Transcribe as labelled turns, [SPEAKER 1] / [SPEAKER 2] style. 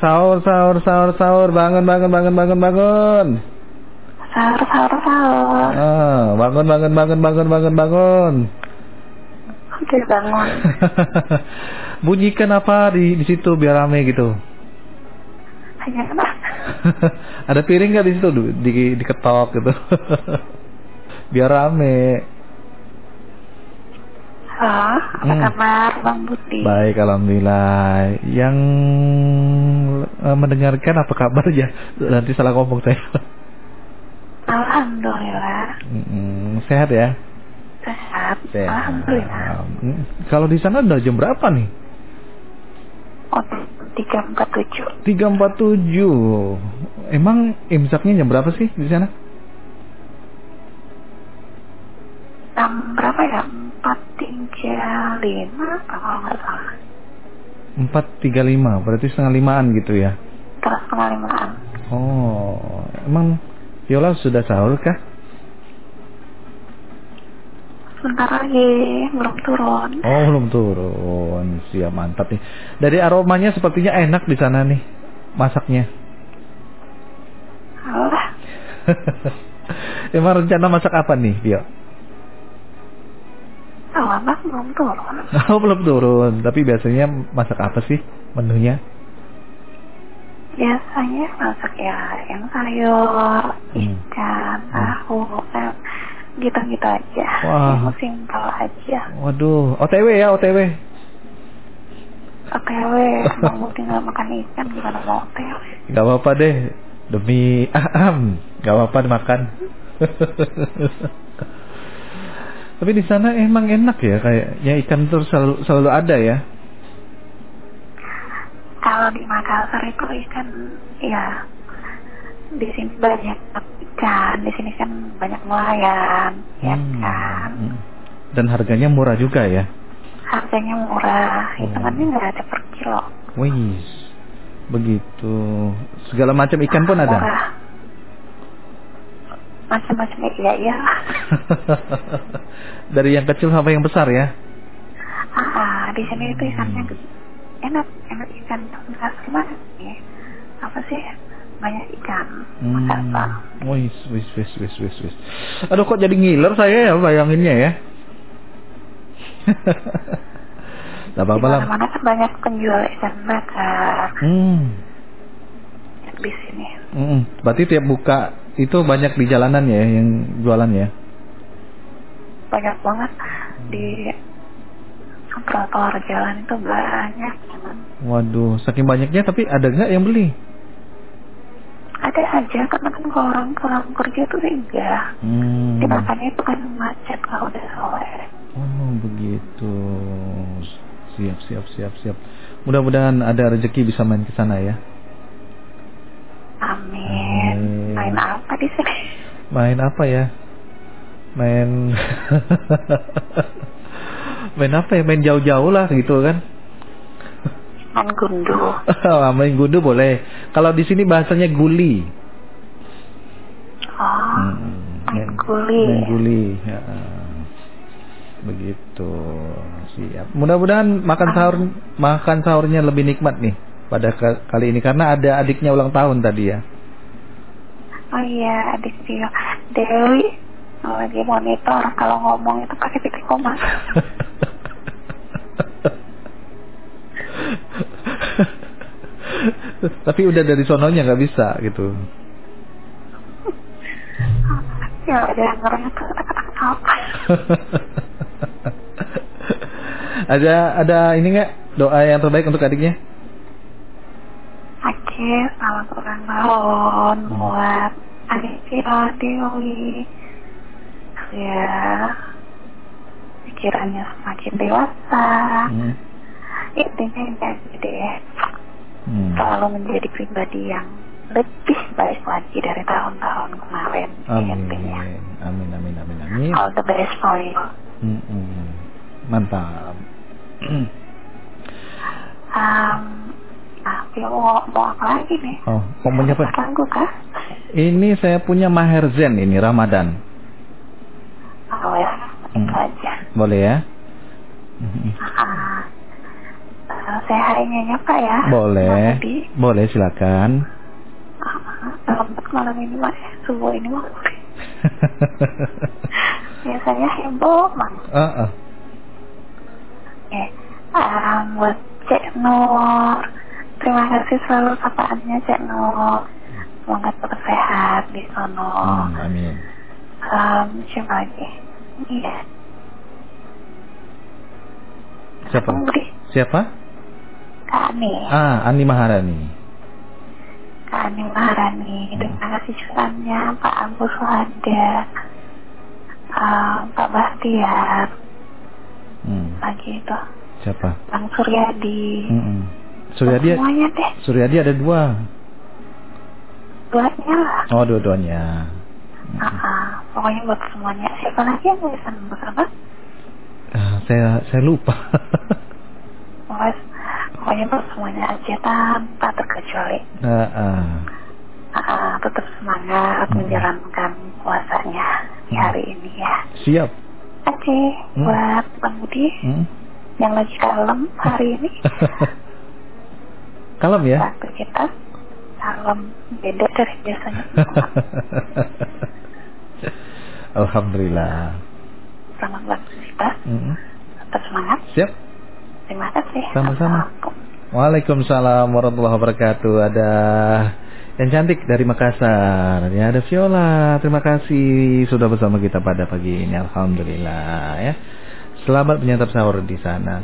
[SPEAKER 1] Sahur, sahur, sahur, sahur. Bangun, bangun, bangun, bangun, bangun.
[SPEAKER 2] Sahur, sahur, sahur.
[SPEAKER 1] Ah, bangun, bangun, bangun, bangun, bangun, bangun.
[SPEAKER 2] Oke, bangun.
[SPEAKER 1] Bunyikan apa di di situ biar rame gitu.
[SPEAKER 2] Hanya apa?
[SPEAKER 1] Ada piring nggak di situ Du- di diketok gitu. biar rame.
[SPEAKER 2] Halo, apa
[SPEAKER 1] Hmm.
[SPEAKER 2] kabar Bang Budi?
[SPEAKER 1] Baik, alhamdulillah. Yang eh, mendengarkan apa kabar ya? Nanti salah ngomong saya.
[SPEAKER 2] Alhamdulillah.
[SPEAKER 1] Mm-mm, sehat ya?
[SPEAKER 2] Sehat. Alhamdulillah.
[SPEAKER 1] Mm. Kalau di sana udah jam berapa nih?
[SPEAKER 2] Oh, tiga empat tujuh.
[SPEAKER 1] 347. Emang imsaknya jam berapa sih di sana?
[SPEAKER 2] Enam berapa ya? Empat tiga lima kalau nggak salah.
[SPEAKER 1] 4.35, berarti setengah limaan gitu ya.
[SPEAKER 2] Terus setengah limaan.
[SPEAKER 1] Oh, emang Yola sudah sahur kah?
[SPEAKER 2] Sebentar lagi belum turun.
[SPEAKER 1] Oh, belum turun. Siap, mantap nih. Dari aromanya sepertinya enak di sana nih masaknya.
[SPEAKER 2] Alah,
[SPEAKER 1] Emang rencana masak apa nih, Vio?
[SPEAKER 2] awal bang belum turun.
[SPEAKER 1] Oh, belum turun. Tapi biasanya masak apa sih menunya?
[SPEAKER 2] Biasanya masak ya yang sayur,
[SPEAKER 1] Hmm.
[SPEAKER 2] ikan, tahu, em, gitu-gitu aja.
[SPEAKER 1] Wah.
[SPEAKER 2] Yang simpel aja.
[SPEAKER 1] Waduh, OTW ya, OTW.
[SPEAKER 2] OTW, mau tinggal makan ikan gimana mau OTW?
[SPEAKER 1] Gak apa-apa deh. Demi aham, gak apa-apa makan. Tapi di sana emang enak ya kayaknya ikan terus selalu selalu ada ya.
[SPEAKER 2] Kalau di Makassar itu ikan, ya di sini banyak ikan, di sini kan banyak nelayan, ya
[SPEAKER 1] Hmm.
[SPEAKER 2] kan.
[SPEAKER 1] Hmm. Dan harganya murah juga ya.
[SPEAKER 2] Harganya murah,
[SPEAKER 1] Oh.
[SPEAKER 2] hitungannya nggak ada per kilo.
[SPEAKER 1] Wih, begitu. Segala macam ikan pun ada.
[SPEAKER 2] Murah. Macam-macam ya, ya.
[SPEAKER 1] Dari yang kecil sampai yang besar ya.
[SPEAKER 2] Ah, ah, di sini itu ikannya enak, enak ikan Makassar gimana sih? Apa sih? Banyak ikan
[SPEAKER 1] Hmm.
[SPEAKER 2] Makassar.
[SPEAKER 1] Wih, wih, wih, wih, wih, wih. Aduh kok jadi ngiler saya ya bayanginnya ya. Gak
[SPEAKER 2] Di
[SPEAKER 1] apa-apa lah.
[SPEAKER 2] mana-mana kan banyak penjual ikan bakar
[SPEAKER 1] Hmm.
[SPEAKER 2] di sini.
[SPEAKER 1] Mm-mm. Berarti tiap buka itu banyak di jalanan ya yang jualan ya.
[SPEAKER 2] banyak banget di trotoar jalan itu banyak banget.
[SPEAKER 1] Waduh, saking banyaknya tapi ada nggak yang beli?
[SPEAKER 2] ada aja karena kan kalau orang pulang kerja tuh enggak
[SPEAKER 1] Hmm.
[SPEAKER 2] dimakannya itu kan macet kalau udah sore
[SPEAKER 1] Oh begitu. Siap, siap, siap, siap. Mudah-mudahan ada rezeki bisa main ke sana ya.
[SPEAKER 2] amin
[SPEAKER 1] Amin.
[SPEAKER 2] main apa di sini
[SPEAKER 1] Main apa ya? Main main apa ya? Main jauh-jauh lah gitu kan.
[SPEAKER 2] main gundu
[SPEAKER 1] main gundu boleh. Kalau di sini bahasanya guli.
[SPEAKER 2] oh
[SPEAKER 1] Hmm,
[SPEAKER 2] main guli
[SPEAKER 1] Main guli. Ya. Begitu. Siap. Mudah-mudahan makan sahur makan sahurnya lebih nikmat nih pada ka- kali ini karena ada adiknya ulang tahun tadi ya.
[SPEAKER 2] oh iya adik dia Dewi oh, lagi monitor kalau ngomong itu pakai titik koma
[SPEAKER 1] Tapi udah dari sononya nggak bisa gitu.
[SPEAKER 2] ya udah ngerasa apa
[SPEAKER 1] ada ada ini nggak doa yang terbaik untuk adiknya?
[SPEAKER 2] Oke, selamat ulang tahun
[SPEAKER 1] Hmm.
[SPEAKER 2] buat Aditya Dewi. Ya, pikirannya semakin dewasa.
[SPEAKER 1] Hmm.
[SPEAKER 2] Intinya ini aja deh,
[SPEAKER 1] Hmm.
[SPEAKER 2] selalu menjadi pribadi yang lebih baik lagi dari tahun-tahun kemarin.
[SPEAKER 1] Amin,
[SPEAKER 2] Intinya.
[SPEAKER 1] amin, amin, amin, amin.
[SPEAKER 2] All the best for you.
[SPEAKER 1] Mm-mm. Mantap.
[SPEAKER 2] Um, ah, Dio, mau, mau apa lagi nih?
[SPEAKER 1] Oh, mau menyapa?
[SPEAKER 2] Lagu kah?
[SPEAKER 1] Ini saya punya Maher Zen ini Ramadan.
[SPEAKER 2] Oh ya, itu
[SPEAKER 1] Hmm.
[SPEAKER 2] aja.
[SPEAKER 1] Boleh ya?
[SPEAKER 2] Ah, ah, saya harinya ya Pak ya.
[SPEAKER 1] Boleh.
[SPEAKER 2] Nanti.
[SPEAKER 1] Boleh silakan.
[SPEAKER 2] Ah, Lambat malam ini Pak ya. Subuh ini Pak. Biasanya heboh Pak.
[SPEAKER 1] Heeh.
[SPEAKER 2] Oke. Ah, buat Cek Nur. Terima kasih selalu sapaannya Cek Nur. Semoga tetap sehat di sono.
[SPEAKER 1] Hmm, amin.
[SPEAKER 2] Um, siapa lagi? Iya.
[SPEAKER 1] Siapa?
[SPEAKER 2] Budi.
[SPEAKER 1] Siapa?
[SPEAKER 2] Kak Ani.
[SPEAKER 1] Ah, Ani Maharani.
[SPEAKER 2] Kak Ani Maharani.
[SPEAKER 1] Hmm.
[SPEAKER 2] Terima kasih jutannya Pak Agus Suhada. Um, Pak Bahtiar.
[SPEAKER 1] Hmm.
[SPEAKER 2] Lagi itu.
[SPEAKER 1] Siapa?
[SPEAKER 2] Bang Suryadi.
[SPEAKER 1] Mm-mm. Hmm, Suryadi ya?
[SPEAKER 2] Semuanya deh.
[SPEAKER 1] Suryadi ada dua.
[SPEAKER 2] Buatnya lah.
[SPEAKER 1] Oh, dua-duanya.
[SPEAKER 2] Ah, ah. pokoknya buat semuanya. Siapa lagi yang bisa apa?
[SPEAKER 1] Ah, saya saya lupa.
[SPEAKER 2] Pokoknya, pokoknya buat semuanya aja tanpa terkecuali.
[SPEAKER 1] Ah, ah.
[SPEAKER 2] Ah, ah, tetap semangat
[SPEAKER 1] Hmm.
[SPEAKER 2] menjalankan puasanya di
[SPEAKER 1] Hmm.
[SPEAKER 2] hari ini ya.
[SPEAKER 1] Siap.
[SPEAKER 2] Oke,
[SPEAKER 1] Hmm.
[SPEAKER 2] buat Bang Budi
[SPEAKER 1] Hmm.
[SPEAKER 2] yang lagi kalem hari ini,
[SPEAKER 1] Kalem ya.
[SPEAKER 2] waktu kita kalem beda dari biasanya.
[SPEAKER 1] Alhamdulillah.
[SPEAKER 2] Selamat waktu kita,
[SPEAKER 1] Mm-mm.
[SPEAKER 2] tetap semangat.
[SPEAKER 1] Siap.
[SPEAKER 2] Terima kasih.
[SPEAKER 1] Sama-sama.
[SPEAKER 2] Assalamualaikum.
[SPEAKER 1] Waalaikumsalam warahmatullahi wabarakatuh. Ada yang cantik dari Makassar. Ya ada Viola. Terima kasih sudah bersama kita pada pagi ini. Alhamdulillah ya. Selamat menyantap sahur di sana.